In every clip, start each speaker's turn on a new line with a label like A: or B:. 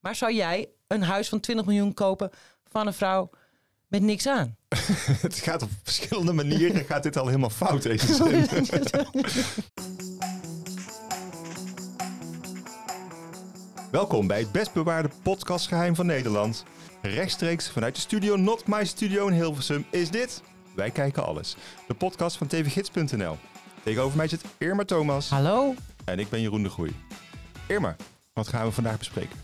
A: Maar zou jij een huis van 20 miljoen kopen van een vrouw met niks aan?
B: Het gaat op verschillende manieren. gaat dit al helemaal fout, deze zin. Welkom bij het best bewaarde podcastgeheim van Nederland. Rechtstreeks vanuit de studio Not My Studio in Hilversum is dit... Wij kijken alles. De podcast van tvgids.nl. Tegenover mij zit Irma Thomas
A: Hallo?
B: en ik ben Jeroen de Groei. Irma, wat gaan we vandaag bespreken?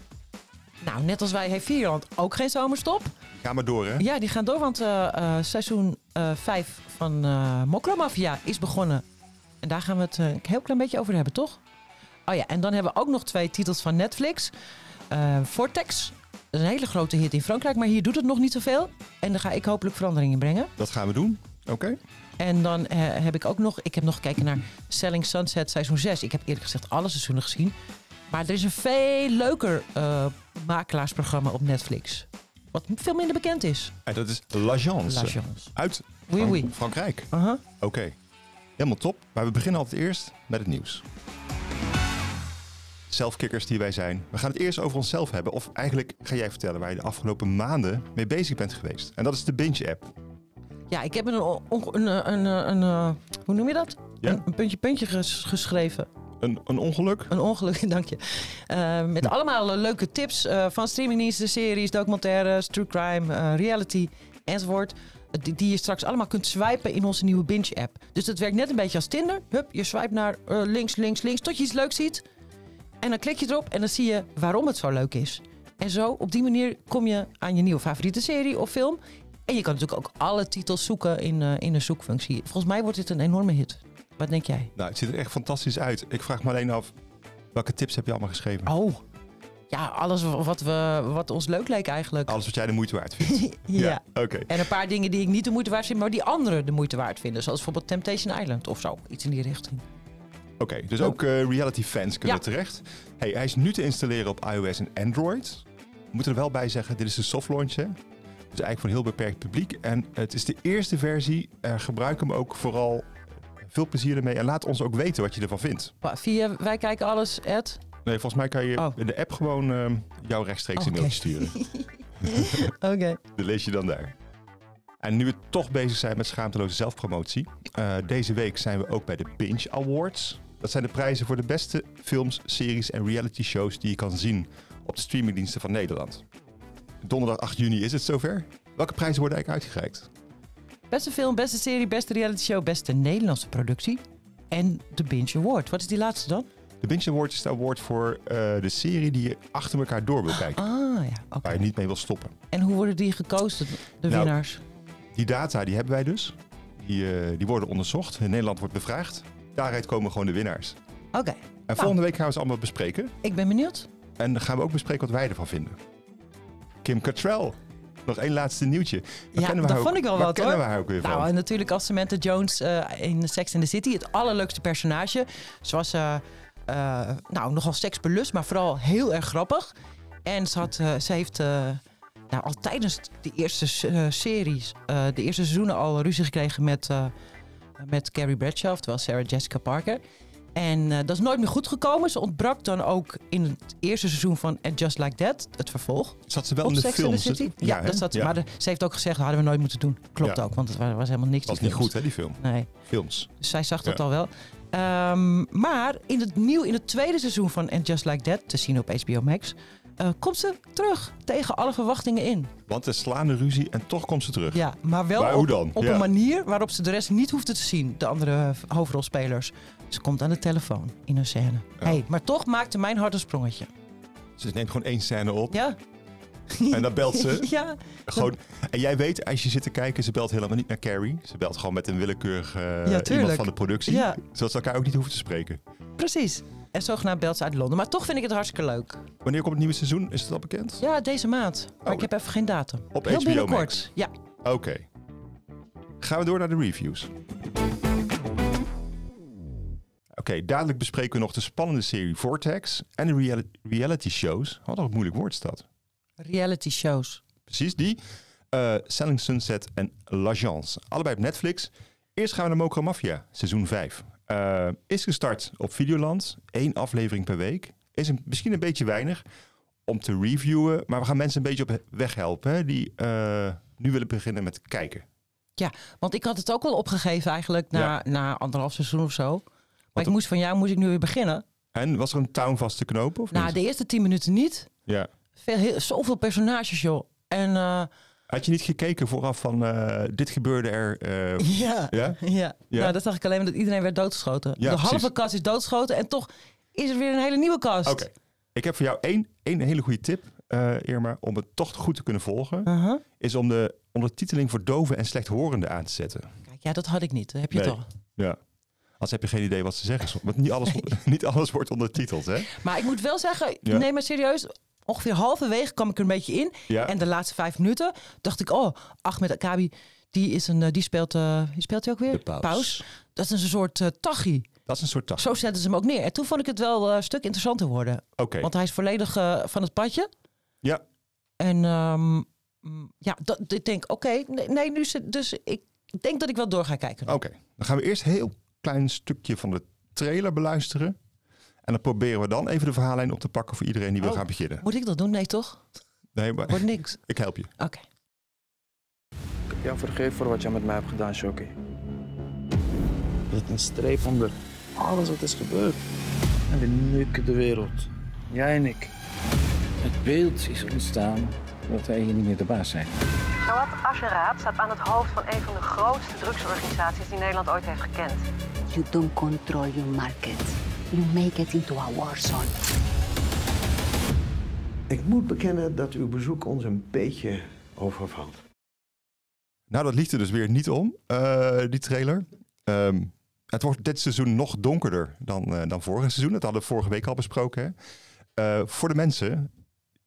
A: Nou, net als wij heeft Vierland ook geen zomerstop.
B: Ga maar door, hè?
A: Ja, die gaan door, want eh, eh, seizoen 5 van eh Mokromafia is begonnen. En daar gaan we het eh, een heel klein beetje over hebben, toch? Oh ja, en dan hebben we ook nog twee titels van Netflix. Eh, Vortex, dat is een hele grote hit in Frankrijk, maar hier doet het nog niet zoveel. En daar ga ik hopelijk verandering in brengen.
B: Dat gaan we doen. Oké.
A: En dan eh, heb ik ook nog, ik heb nog gekeken naar Selling Sunset seizoen 6. Ik heb eerlijk gezegd alle seizoenen gezien. Maar er is een veel leuker eh, makelaarsprogramma op Netflix. Wat veel minder bekend is.
B: En dat is L'Agence.
A: La Chance.
B: Uit
A: Oui,
B: Frank-
A: oui.
B: Frankrijk.
A: Aha.
B: Oké, helemaal top. Maar we beginnen altijd eerst met het nieuws. Zelfkikkers die wij zijn. We gaan het eerst over onszelf hebben. Of eigenlijk ga jij vertellen waar je de afgelopen maanden mee bezig bent geweest. En dat is de Binge-app.
A: Ja, ik heb een, on- een, een, een, een, eh, hoe noem je dat?
B: Ja.
A: Een, een puntje puntje ges- geschreven.
B: Een, een ongeluk?
A: Een ongeluk, dank je. Eh, met allemaal eh, leuke tips eh, van streamingdiensten, series, documentaires, true crime, eh, reality enzovoort. eh, Die, die je straks allemaal kunt swipen in onze nieuwe Binge-app. Dus dat werkt net een beetje als Tinder. Hup, je swipe naar eh, links, links, links tot je iets leuks ziet. En dan klik je erop en dan zie je waarom het zo leuk is. En zo, op die manier kom je aan je nieuwe favoriete serie of film. En je kan natuurlijk ook alle titels zoeken in, eh, in de zoekfunctie. Volgens mij wordt dit een enorme hit. Wat denk jij?
B: Nou, het ziet er echt fantastisch uit. Ik vraag me alleen af, welke tips heb je allemaal geschreven?
A: Oh. Ja, alles wat, we, wat ons leuk leek eigenlijk.
B: Alles wat jij de moeite waard vindt.
A: ja.
B: Oké.
A: En een paar dingen die ik niet de moeite waard vind, maar die anderen de moeite waard vinden. Zoals bijvoorbeeld Temptation Island of zo. Iets in die richting.
B: Oké, dus ook eh, reality fans kunnen
A: Ja.
B: terecht. Hey, hij is nu te installeren op iOS en Android. We moeten er wel bij zeggen, dit is de soft launch, hè? Dus eigenlijk voor een heel beperkt publiek. En het is de eerste versie. Eh, gebruik hem ook vooral. Veel plezier ermee. En laat ons ook weten wat je ervan vindt.
A: Wa- Via Wij Kijken Alles, Ed.
B: Nee, volgens mij kan je
A: Oh.
B: in de app gewoon ehm, jou rechtstreeks een
A: Oké.
B: mailtje sturen.
A: Oké.
B: Dat lees je dan daar. En nu we toch bezig zijn met schaamteloze zelfpromotie. eh, deze week zijn we ook bij de Pinch Awards. Dat zijn de prijzen voor de beste films, series en reality shows die je kan zien op de streamingdiensten van Nederland. Donderdag 8 juni is het zover. Welke prijzen worden eigenlijk uitgereikt?
A: Beste film, beste serie, beste reality show, beste Nederlandse productie. En de Binge Award. Wat is die laatste dan?
B: De Binge Awards is de award voor eh, de serie die je achter elkaar door wil kijken.
A: Ah ja, oké.
B: Waar je niet mee wil stoppen.
A: En hoe worden die gekozen, de
B: Nou,
A: winnaars?
B: Die data die hebben wij dus. Die, eh, die worden onderzocht. In Nederland wordt bevraagd. Daaruit komen gewoon de winnaars.
A: Oké,
B: En volgende week gaan we ze allemaal bespreken.
A: ik ben benieuwd.
B: En dan gaan we ook bespreken wat wij ervan vinden. Kim Cattrall. Nog één laatste nieuwtje. Waar
A: Ja,
B: kennen we
A: dat
B: haar
A: vond
B: ook-
A: ik wel
B: waar
A: wat,
B: kennen
A: hoor.
B: we haar ook weer van?
A: Nou, en natuurlijk als Samantha Jones eh, in Sex and the City. Het allerleukste personage. Ze was eh, eh, nou, nogal seksbelust, maar vooral heel erg grappig. En ze, had, eh, ze heeft eh, nou, al tijdens de eerste s- eh, series, eh, de eerste seizoenen al ruzie gekregen met, eh, met Carrie Bradshaw, terwijl Sarah Jessica Parker. En eh, dat is nooit meer goed gekomen. Ze ontbrak dan ook in het eerste seizoen van And Just Like That, het vervolg.
B: zat ze wel
A: Op
B: in de
A: Sex
B: films?
A: and the City?
B: hè?
A: Ja,
B: hè?
A: dat zat,
B: Ja.
A: maar de- ze heeft ook gezegd, dat hadden we nooit moeten doen. Klopt
B: Ja.
A: ook, want het wa- was, helemaal niks.
B: was
A: die
B: niet
A: films.
B: goed, hè, die film.
A: Nee,
B: Films.
A: dus zij zag dat
B: Ja.
A: al wel. Ehm, maar in het, nieuw, in het tweede seizoen van And Just Like That, te zien op HBO Max, eh, komt ze terug tegen alle verwachtingen in.
B: Want er slaande ruzie en toch komt ze terug.
A: Ja, maar wel
B: Maar hoe
A: op,
B: dan?
A: op
B: Ja.
A: een manier waarop ze de rest niet hoefde te zien, de andere eh, hoofdrolspelers. Ze komt aan de telefoon in een scène.
B: Ja.
A: Hey, maar toch maakte mijn hart een sprongetje.
B: Ze neemt gewoon één scène op
A: Ja?
B: en dan belt ze.
A: ja.
B: gewoon. En jij weet, als je zit te kijken, ze belt helemaal niet naar Carrie. Ze belt gewoon met een willekeurig eh, iemand
A: tuurlijk.
B: van de productie.
A: Ja.
B: Zodat ze elkaar ook niet hoeven te spreken.
A: Precies. En zogenaamd belt ze uit Londen. Maar toch vind ik het hartstikke leuk.
B: Wanneer komt het nieuwe seizoen? Is het al bekend?
A: Ja, deze maand. Maar
B: Oh.
A: ik heb even geen datum.
B: Op
A: Heel
B: HBO
A: binnenkort.
B: Max.
A: Ja.
B: Oké. Gaan we door naar de reviews. Oké, dadelijk bespreken we nog de spannende serie Vortex en de reali- reality shows. Wat een moeilijk woord is dat.
A: Reality shows.
B: Precies die. eh, Selling Sunset en L'Agence. Allebei op Netflix. Eerst gaan we naar Mokro Mafia, seizoen 5. Eh, is gestart op Videoland. Eén aflevering per week. Is een, misschien een beetje weinig. om te reviewen. Maar we gaan mensen een beetje op weg helpen hè, die eh, nu willen beginnen met kijken.
A: Want ik had het ook al opgegeven eigenlijk na, na anderhalf seizoen of zo. Maar
B: Want-
A: ik moest van jou, moest ik nu weer beginnen?
B: En was er een town vast te knopen? Of
A: Nou,
B: niet?
A: de eerste tien minuten niet.
B: Ja.
A: Veel, heel, zoveel personages, joh. En eh,
B: Had je niet gekeken vooraf van eh, dit gebeurde er? eh,
A: ja.
B: ja?
A: Ja.
B: Ja.
A: nou dat zag ik alleen maar dat iedereen werd doodgeschoten.
B: Ja,
A: de halve
B: precies.
A: kast is doodgeschoten en toch is er weer een hele nieuwe kast.
B: Oké. Ik heb voor jou één, één hele goede tip, eh, Irma, om het toch goed te kunnen volgen.
A: Uh-huh.
B: Is om de ondertiteling voor doven en slechthorenden aan te zetten.
A: Kijk, ja, dat had ik niet. Dat heb je
B: Nee.
A: toch.
B: Ja. Als heb je geen idee wat ze zeggen. Want niet alles, niet alles wordt ondertiteld, hè?
A: Maar ik moet wel zeggen,
B: Ja.
A: neem maar serieus. Ongeveer halverwege kwam ik er een beetje in.
B: Ja.
A: En de laatste vijf minuten dacht ik, oh, Ahmed Akabi, die, is een, eh, die speelt, eh die speelt hij ook weer? Dat is een soort eh tachi.
B: Dat is een soort tas.
A: Zo zetten ze hem ook neer. En toen vond ik het wel eh, een stuk interessanter worden.
B: Oké.
A: Want hij is volledig eh, van het padje.
B: Ja.
A: En ehm, mm, ja, dat, ik denk, oké, nee, nee, nu zit, dus ik denk dat ik wel door ga kijken.
B: Oké. Dan gaan we eerst een heel klein stukje van de trailer beluisteren. En dan proberen we dan even de verhaallijn op te pakken voor iedereen die wil
A: Oh.
B: gaan beginnen.
A: Moet ik dat doen? Nee, toch?
B: Nee, maar
A: Wordt niks.
B: ik help je.
A: Oké.
C: Ik heb jou vergeven voor wat jij met mij hebt gedaan, Shoki. Er zit een streep onder alles wat is gebeurd. En we nukken de wereld. Jij en ik.
D: Het beeld is ontstaan dat wij eh, hier niet meer de baas zijn.
E: Jawad Asheraat staat aan het hoofd van een van de grootste drugsorganisaties die Nederland ooit heeft gekend.
F: You don't control your market. You make it into a war zone.
G: Ik moet bekennen dat uw bezoek ons een beetje overvalt.
B: Nou, dat liet er dus weer niet om, eh, die trailer. Ehm, het wordt dit seizoen nog donkerder dan, eh, dan vorig seizoen. Dat hadden we vorige week al besproken. Hè? Eh, voor de mensen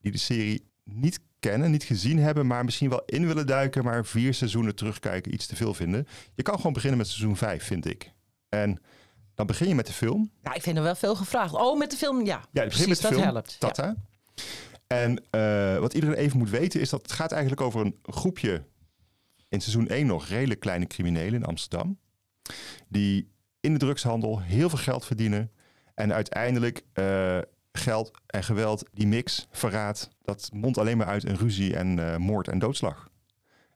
B: die de serie niet kennen, niet gezien hebben, maar misschien wel in willen duiken, maar vier seizoenen terugkijken iets te veel vinden. Je kan gewoon beginnen met seizoen 5, vind ik. En dan begin je met de film.
A: Nou, ik vind er wel veel gevraagd. Oh, met de film, ja.
B: Ja, je begint met de
A: dat
B: film.
A: helpt. Ja.
B: Tata. En eh, wat iedereen even moet weten is dat het gaat eigenlijk over een groepje in seizoen 1 nog redelijk kleine criminelen in Amsterdam. Die in de drugshandel heel veel geld verdienen. En uiteindelijk eh, geld en geweld, die mix, verraad, dat mondt alleen maar uit in ruzie en eh, moord en doodslag.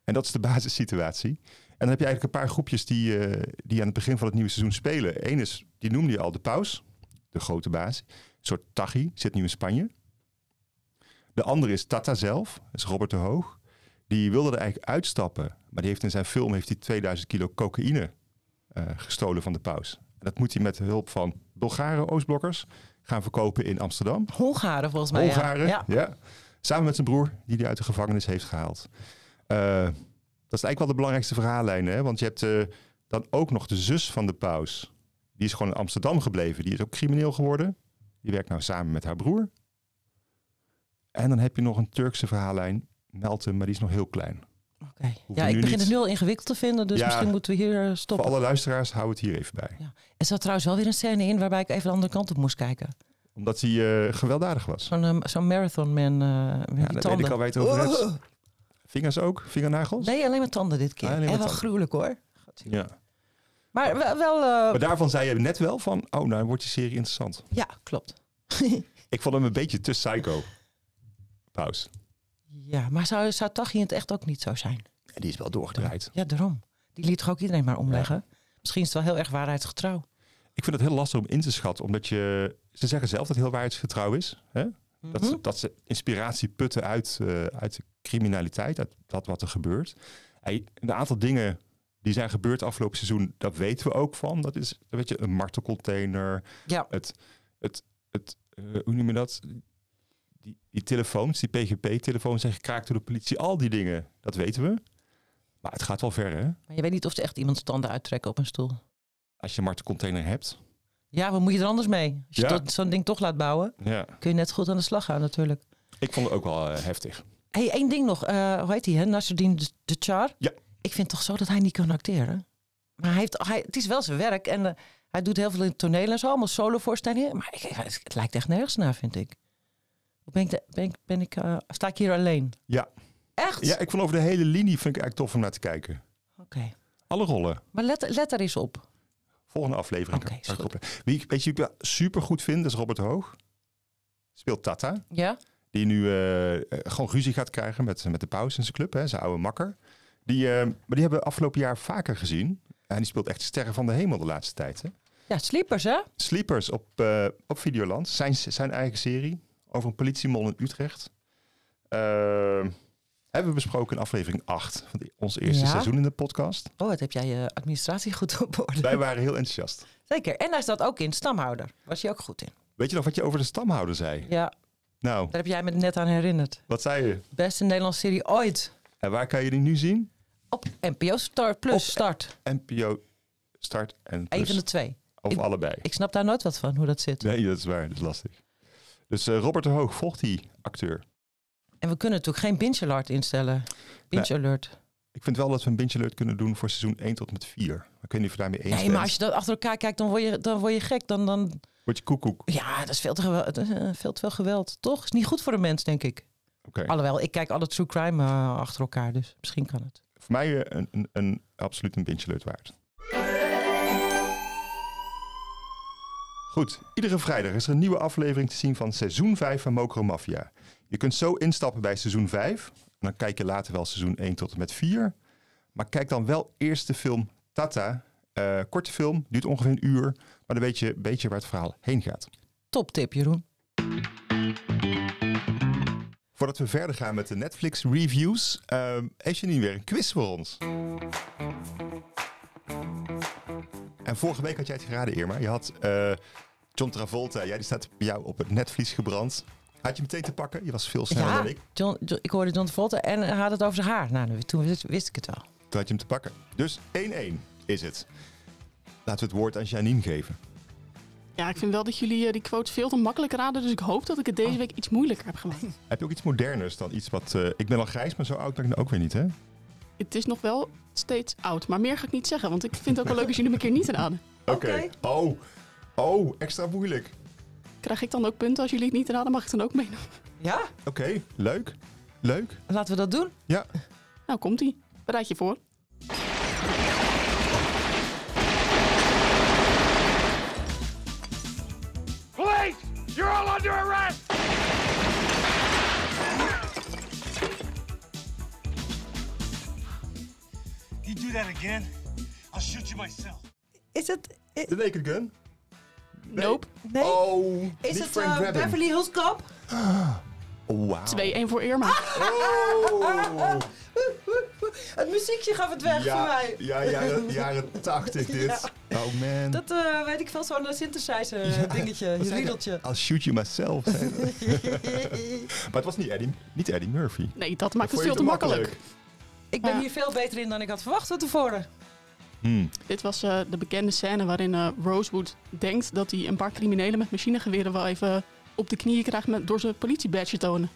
B: En dat is de basissituatie. En dan heb je eigenlijk een paar groepjes die, eh, die aan het begin van het nieuwe seizoen spelen. Eén is, die noemde je al, de paus, de grote baas. Een soort Tachi, zit nu in Spanje. De andere is Tata zelf, dat is Robert de Hoog. Die wilde er eigenlijk uitstappen, maar die heeft in zijn film heeft hij 2000 kilo cocaïne eh, gestolen van de paus. En dat moet hij met de hulp van Bulgaren Oostblokkers gaan verkopen in Amsterdam.
A: Hongaren, volgens mij. Nou ja.
B: Hongaren, ja.
A: Ja.
B: Samen met zijn broer, die hij uit de gevangenis heeft gehaald. Eh, dat is eigenlijk wel de belangrijkste verhaallijn, hè? want je hebt eh, dan ook nog de zus van de paus. Die is gewoon in Amsterdam gebleven, die is ook crimineel geworden. Die werkt nou samen met haar broer. En dan heb je nog een Turkse verhaallijn, Meltem, maar die is nog heel klein.
A: Oké.
B: Hoeven
A: ja,
B: nu
A: ik begin
B: niet-
A: het nu al ingewikkeld te vinden, dus
B: Ja.
A: misschien moeten we hier eh,
B: Voor
A: stoppen.
B: alle luisteraars, hou het hier even bij.
A: Er zat trouwens wel weer een scène in waarbij ik even de andere kant op moest kijken.
B: Omdat hij eh, gewelddadig was.
A: Zo'n ehm, zo'n marathon man eh, met
B: Ja,
A: die
B: dat
A: tanden.
B: weet ik al waar je het over hebt.
A: Oh.
B: Vingers ook, vingernagels.
A: Nee, alleen maar tanden dit keer.
B: Ah, alleen maar
A: en wel
B: tanden.
A: gruwelijk hoor.
B: Ja.
A: Maar wel... wel, eh,
B: Maar daarvan zei je net wel van, oh, nou wordt die serie interessant.
A: ja, klopt.
B: Ik vond hem een beetje te psycho. Paus.
A: Ja, maar zou, zou Tachi in het echt ook niet zo zijn?
B: die is wel doorgedraaid.
A: Ja, daarom. Die liet toch ook iedereen maar omleggen? Misschien is het wel heel erg waarheidsgetrouw.
B: Ik vind het heel lastig om in te schatten, omdat je... Ze zeggen zelf dat het heel waarheidsgetrouw is. Hè? Dat,
A: Mhm.
B: ze, dat ze inspiratie putten uit, eh, uit de criminaliteit, uit dat wat er gebeurt. Hij- een aantal dingen die zijn gebeurd afgelopen seizoen, dat weten we ook van. Dat is weet je, een martelcontainer,
A: Ja,
B: het, het, het eh, hoe noem je dat? Die, die telefoons, die PGP-telefoons zijn gekraakt door de politie. Al die dingen, dat weten we. Maar het gaat wel ver, hè?
A: maar je weet niet of ze echt iemand tanden uittrekken op een stoel.
B: Als je maar de container hebt.
A: Ja, wat moet je er anders mee? Als je
B: Ja.
A: dat- zo'n ding toch laat bouwen,
B: Ja.
A: kun je net goed aan de slag gaan natuurlijk.
B: Ik vond het ook wel eh, heftig.
A: Hé, hey, één ding nog. Eh, hoe heet hij, hè? Nasruddin de, de Char?
B: Ja.
A: Ik vind toch zo dat hij niet kan acteren. Maar hij heeft, hij, het is wel zijn werk. En eh, hij doet heel veel in het toneel en zo. Allemaal solovoorstellingen. Maar ik, het, het lijkt echt nergens naar, vind ik. Hoe Ben ik, de- ben ik, ben ik eh, sta ik hier alleen?
B: Ja.
A: Echt?
B: ja, ik vond over de hele linie vind ik eigenlijk tof om naar te kijken.
A: Oké.
B: Alle rollen.
A: Maar let, let er eens op.
B: Volgende aflevering.
A: Oké, is goed.
B: Wie ik, weet je, wie ik super goed vind, dat is Robert Hoog. Speelt Tata.
A: Ja?
B: Die nu eh, eh, gewoon ruzie gaat krijgen met, met de paus in zijn club, hè, zijn oude makker. Die, eh, maar die hebben we afgelopen jaar vaker gezien. En die speelt echt sterren van de hemel de laatste tijd. Hè.
A: Ja, sleepers, hè?
B: Sleepers op, eh, op Videoland. Zijn, zijn eigen serie over een politiemol in Utrecht. Eh, hebben we besproken in aflevering 8 van die- ons eerste
A: Ja.
B: seizoen in de podcast.
A: Oh, wat heb jij je administratie goed op orde.
B: Wij waren heel enthousiast.
A: Zeker. En hij staat ook in, stamhouder. Was hij ook goed in.
B: Weet je nog wat je over de stamhouder zei?
A: Ja,
B: Nou,
A: daar heb jij me net aan herinnerd.
B: wat zei je?
A: Beste Nederlandse serie ooit.
B: En waar kan je die nu zien?
A: Op NPO Star Plus
B: Op-
A: start.
B: NPO Start en
A: Eén
B: Plus.
A: van de twee.
B: Of
A: ik-
B: allebei.
A: Ik snap daar nooit wat van, hoe dat zit.
B: Nee, dat is waar. Dat is lastig. Dus eh, Robert de Hoog volgt die acteur.
A: En we kunnen natuurlijk geen binge alert instellen. Binge alert.
B: Ik vind wel dat we een binge alert kunnen doen voor seizoen 1 tot en met 4. Ik weet niet of je daarmee eens
A: Nee,
B: bent.
A: maar als je dat achter elkaar kijkt, dan word je, dan word je gek. Dan, dan,
B: Word je koekoek. Oké.
A: ja, dat is veel te, gewel- dat is, eh, veel te veel geweld, toch? Is niet goed voor de mens, denk ik. Alhoewel, ik kijk alle true crime eh, achter elkaar, dus misschien kan het.
B: Voor mij eh, een, een, een, absoluut een binge alert waard. Goed, iedere vrijdag is er een nieuwe aflevering te zien van seizoen 5 van Mokro Mafia. Je kunt zo instappen bij seizoen 5. En dan kijk je later wel seizoen 1 tot en met 4. Maar kijk dan wel eerst de film Tata. Eh, korte film, duurt ongeveer een uur. Maar dan weet je een beetje waar het verhaal heen gaat.
A: Top tip, Jeroen.
B: Voordat we verder gaan met de Netflix reviews, ehm heeft Janine weer een quiz voor ons. En vorige week had jij het geraden, Irma. Je had eh, John Travolta, jij die staat bij jou op het netvlies gebrand. Had je meteen te pakken? Je was veel sneller
A: ja,
B: dan ik.
A: John, John- ik hoorde John de Volte en hij had het over zijn haar. Nou, toen wist, wist ik het al.
B: Toen had je hem te pakken. Dus 1-1 is het. Laten we het woord aan Janine geven.
H: Ja, ik vind wel dat jullie eh, die quotes veel te makkelijk raden. Dus ik hoop dat ik het deze week iets moeilijker heb gemaakt.
B: Heb je ook iets moderners dan iets wat... eh, ik ben al grijs, maar zo oud ben ik nou ook weer niet, hè? Oké,
H: Het is nog wel steeds oud. Maar meer ga ik niet zeggen. Want ik vind het ook wel leuk als jullie me een keer niet raden.
B: Oh, oh, extra moeilijk.
H: Krijg ik dan ook punten als jullie het niet raden? Mag ik dan ook meedoen?
A: Ja,
B: Oké, leuk. Leuk.
A: laten we dat doen.
B: Ja,
H: Nou, komt-ie. Bereid je voor.
I: You do that again, I'll shoot you myself.
A: Is het... eh,
B: The Naked Gun.
H: Nope.
A: Nee?
B: Oh,
A: is
B: niet
A: het eh,
B: Frank Drebin.
A: Beverly Hills Cop?
B: Wauw.
H: 2-1 voor Irma.
B: Oh.
A: Het muziekje gaf het weg voor
B: Ja,
A: mij.
B: ja, jaren, jaren 80 dit. Oh man.
A: Dat eh, weet ik veel, zo'n synthesizer
B: Ja,
A: dingetje,
B: wat zei
A: riedeltje.
B: hij? I'll shoot you myself. zei hij. maar het was niet Eddie, niet Eddie Murphy.
H: Nee, dat maakt
B: Vond
H: het
B: je
H: veel te makkelijk.
A: Ik ben
H: Ja.
A: hier veel beter in dan ik had verwacht van tevoren.
B: Hmm.
H: Dit was eh, de bekende scène waarin eh, Rosewood denkt dat hij een paar criminelen met machinegeweren wel even op de knieën krijgt met, door zijn politiebadge te tonen.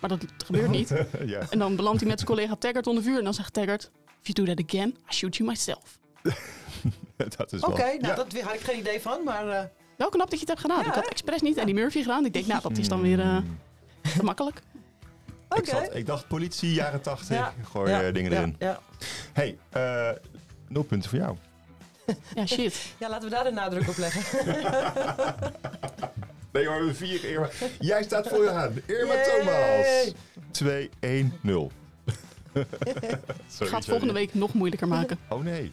H: Maar dat gebeurt niet.
B: ja.
H: En dan belandt hij met zijn collega Taggart onder vuur. En dan zegt Taggart, if you do that again, I shoot you myself.
B: dat is
A: Oké,
B: wel.
A: nou
B: Ja.
A: dat had ik geen idee van, maar... eh,
H: Wel knap dat je het hebt gedaan.
A: Ja,
H: ik had
A: hè?
H: expres niet Eddie Murphy gedaan. Ik denk, nou, dat is dan weer eh, te makkelijk.
A: Oké.
B: Hmm. ik, zat, ik dacht politie, jaren 80.
A: Ja.
B: Gooi
A: Ja,
B: eh, dingen
A: ja,
B: erin.
A: Ja.
B: Hey, eh nul punten voor jou.
H: Ja, shit.
A: ja, laten we daar de nadruk op leggen.
B: Nee hoor, we vier Irma. Jij staat voor je aan. Irma
A: Yay.
B: Thomas. 2-1-0.
H: Ik ga het volgende week nog moeilijker maken.
B: Oh nee.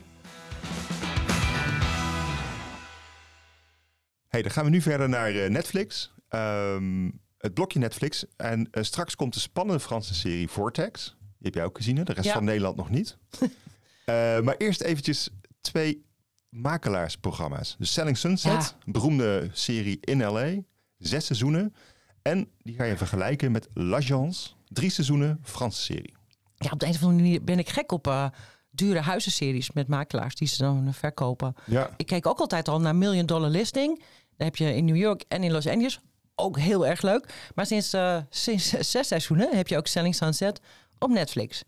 B: Hey, dan gaan we nu verder naar eh, Netflix. Ehm, het blokje Netflix. En eh, straks komt de spannende Franse serie Vortex. Die heb jij ook gezien, hè? De rest
A: Ja.
B: van Nederland nog niet. Eh, maar eerst eventjes twee makelaarsprogramma's. De Selling Sunset, beroemde serie in L.A. Zes seizoenen. En die ga je vergelijken met L'Agence. Drie seizoenen, Franse serie.
A: ja, op de een of andere manier ben ik gek op eh, dure huizenseries met makelaars die ze dan eh, verkopen.
B: Ja.
A: Ik keek ook altijd al naar Million Dollar Listing. Daar heb je in New York en in Los Angeles. Ook heel erg leuk. Maar sinds, eh, sinds zes seizoenen heb je ook Selling Sunset op Netflix.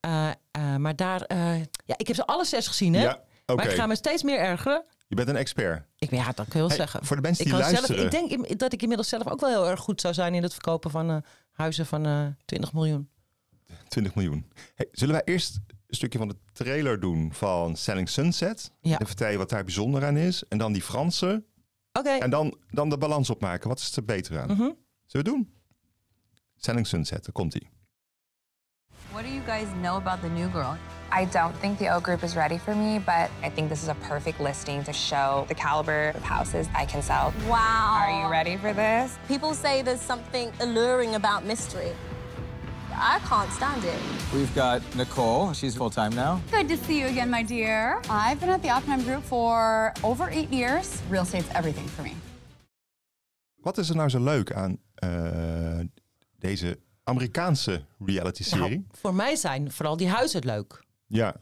A: Eh, eh, maar daar... eh, ja, ik heb ze alle zes gezien, hè?
B: Ja, oké.
A: Maar ik ga me steeds meer ergeren.
B: Je bent een expert.
A: Ik, ja, dat kun je wel
B: Hey,
A: zeggen.
B: voor de mensen
A: ik
B: die
A: kan
B: luisteren.
A: Zelf, ik denk im- dat ik inmiddels zelf ook wel heel erg goed zou zijn... in het verkopen van eh, huizen van eh 20 miljoen.
B: 20 miljoen. Hey, zullen wij eerst een stukje van de trailer doen van Selling Sunset?
A: Ja.
B: En vertel je wat daar bijzonder aan is. En dan die Fransen.
A: Oké,
B: En dan, dan de balans opmaken. Wat is er beter aan?
A: mhm.
B: Zullen we het doen? Selling Sunset, daar komt hij.
J: What do you guys know about the new girl? I don't think the O Group is ready for me, but I think this is a perfect listing to show the caliber of houses I can sell.
K: Wow.
J: Are you ready for this?
K: People say there's something alluring about mystery. I can't stand it.
L: We've got Nicole. She's full time now.
M: Good to see you again, my dear. I've been at the Oppenheim Group for over eight years. Real estate's everything for me.
B: Wat is er nou zo leuk aan eh, deze Amerikaanse reality-serie?
A: Nou, voor mij zijn vooral die huizen leuk.
B: Ja,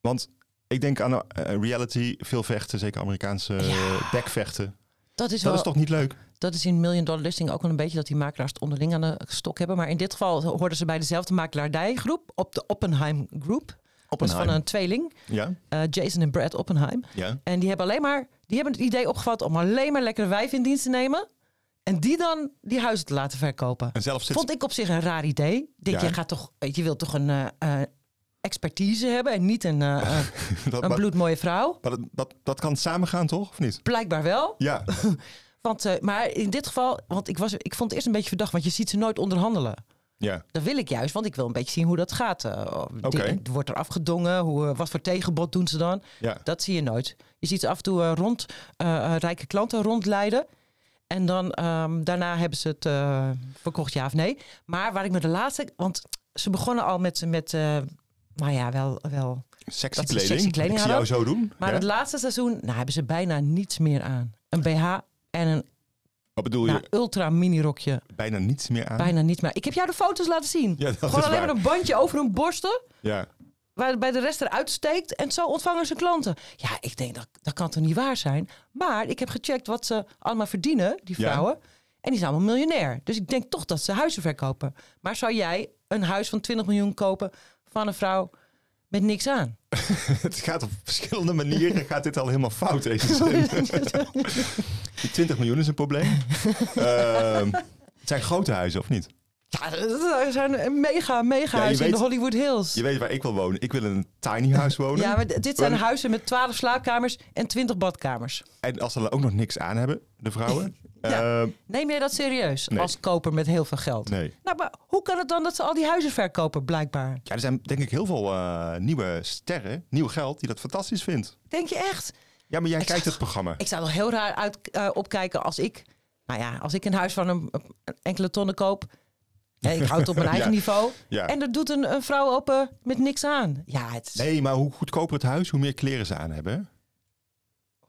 B: want ik denk aan eh, reality, veel vechten, zeker Amerikaanse eh, bekvechten.
A: Dat is,
B: Dat
A: wel,
B: is toch niet leuk?
A: Dat is in Million Dollar Listing ook wel een beetje dat die makelaars het onderling aan de stok hebben. Maar in dit geval hoorden ze bij dezelfde makelaardijgroep op de Oppenheim Group.
B: Oppenheim.
A: Dus van een tweeling,
B: Ja,
A: eh, Jason en Brad Oppenheim.
B: ja.
A: En die hebben alleen maar, die hebben het idee opgevat om alleen maar lekkere wijven in dienst te nemen. En die dan die huizen te laten verkopen.
B: En zelf zit-
A: Vond ik op zich een raar idee. Ik Denk,
B: Ja.
A: je, gaat toch, je wilt toch een eh, eh, expertise hebben en niet een, eh, eh,
B: Dat,
A: een
B: maar-
A: bloedmooie vrouw?
B: maar dat, dat, dat kan samengaan, toch? Of niet?
A: Blijkbaar wel.
B: Ja,
A: Want, eh, maar in dit geval, want ik, was, ik vond het eerst een beetje verdacht, want je ziet ze nooit onderhandelen.
B: ja.
A: Dat wil ik juist, want ik wil een beetje zien hoe dat gaat. Eh, dit- het wordt er afgedongen, hoe, eh, wat voor tegenbod doen ze dan?
B: Ja.
A: Dat zie je nooit. Je ziet ze af en toe eh, rond eh, eh, rijke klanten rondleiden. En dan ehm, daarna hebben ze het eh, verkocht, ja of nee. Maar waar ik me de laatste. Want ze begonnen al met. met eh, nou ja, wel. wel
B: Sexy
A: dat ze
B: kleding.
A: Sexy kleding
B: ik zie jou
A: hadden.
B: zo doen.
A: Maar
B: Ja.
A: het laatste seizoen nou, hebben ze bijna niets meer aan. Een BH en een
B: Wat bedoel
A: nou,
B: je?
A: ultra mini rokje.
B: Bijna niets meer aan?
A: Bijna niet meer. Ik heb jou de foto's laten zien.
B: Ja, dat
A: Gewoon
B: is
A: alleen
B: waar.
A: maar een bandje over hun borsten.
B: Ja.
A: Waarbij de rest eruit steekt. En zo ontvangen ze klanten. Ja, ik denk dat, dat kan toch niet waar zijn. Maar ik heb gecheckt wat ze allemaal verdienen, die
B: Ja.
A: vrouwen. En die zijn allemaal miljonair. Dus ik denk toch dat ze huizen verkopen. Maar zou jij een huis van 20 miljoen kopen van een vrouw met niks aan?
B: Het gaat op verschillende manieren. gaat dit al helemaal fout, deze zin. Die 20 miljoen is een probleem. Ehm, het zijn grote huizen, of niet?
A: Ja, dat zijn een mega, mega
B: Ja, je
A: huizen in
B: weet-
A: de Hollywood Hills.
B: Je weet waar ik wil wonen. Ik wil in een tiny house wonen.
A: Ja, maar d- dit zijn
B: Een-
A: huizen met 12 slaapkamers en 20 badkamers.
B: En als ze er ook nog niks aan hebben, de vrouwen.
A: Ja.
B: Ehm,
A: Neem jij dat serieus
B: Nee.
A: als koper met heel veel geld?
B: nee.
A: Nou, maar hoe kan het dan dat ze al die huizen verkopen, blijkbaar?
B: Ja, er zijn denk ik heel veel eh, nieuwe sterren, nieuw geld, die dat fantastisch vindt.
A: Denk je echt?
B: Ja, maar jij
A: Ik
B: kijkt
A: zag-
B: het programma.
A: Ik zou er heel raar uit, eh, opkijken als ik... Nou ja, als ik een huis van een, een enkele tonnen koop... Hè, ik houd het op mijn eigen
B: Ja.
A: niveau.
B: Ja.
A: En dat doet een, een vrouw op eh, met niks aan. Ja, het is
B: Nee, maar hoe goedkoper het huis, hoe meer kleren ze aan hebben. hè?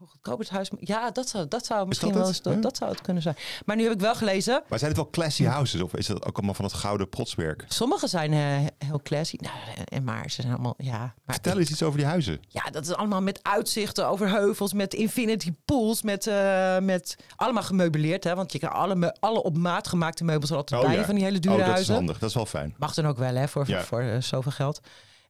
A: goedkoop het huis. Ja, dat zou, dat zou misschien
B: dat
A: wel
B: het?
A: eens... Dat,
B: Ja.
A: dat zou het kunnen zijn. Maar nu heb ik wel gelezen...
B: Maar zijn het wel classy
A: Hm.
B: houses of is dat ook allemaal van het gouden protswerk?
A: Sommige zijn eh, heel classy. Nou, en maar ze zijn allemaal... Ja, maar
B: Vertel eens iets over die huizen.
A: Ja, dat is allemaal met uitzichten over heuvels, met infinity pools, met, eh, met allemaal gemeubileerd. Hè? Want je kan alle, me- alle op maat gemaakte meubels er altijd bij van die hele dure
B: oh, dat
A: huizen.
B: is handig. Dat is wel fijn.
A: Mag dan ook wel, hè, voor,
B: Ja.
A: voor, eh, zoveel geld.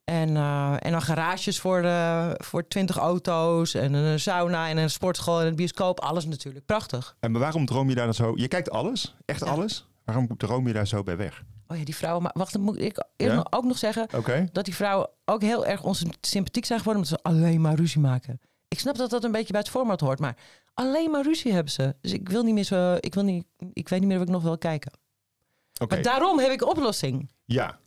A: En, eh, en dan garages voor, eh voor 20 auto's en een sauna en een sportschool en een bioscoop. Alles natuurlijk prachtig.
B: En maar waarom droom je daar dan zo? Je kijkt alles, echt alles. Waarom droom je daar zo bij weg?
A: Oh ja, die vrouwen. Maar wacht, dan moet ik eerst
B: Ja?
A: nog- ook nog zeggen
B: Oké.
A: dat die vrouwen ook heel erg onsympathiek zijn geworden omdat ze alleen maar ruzie maken. Ik snap dat dat een beetje bij het format hoort, maar alleen maar ruzie hebben ze. Dus ik wil niet meer zo. Ik wil niet. Ik weet niet meer of ik nog wil kijken.
B: Oké.
A: Maar daarom heb ik een oplossing.
B: Ja.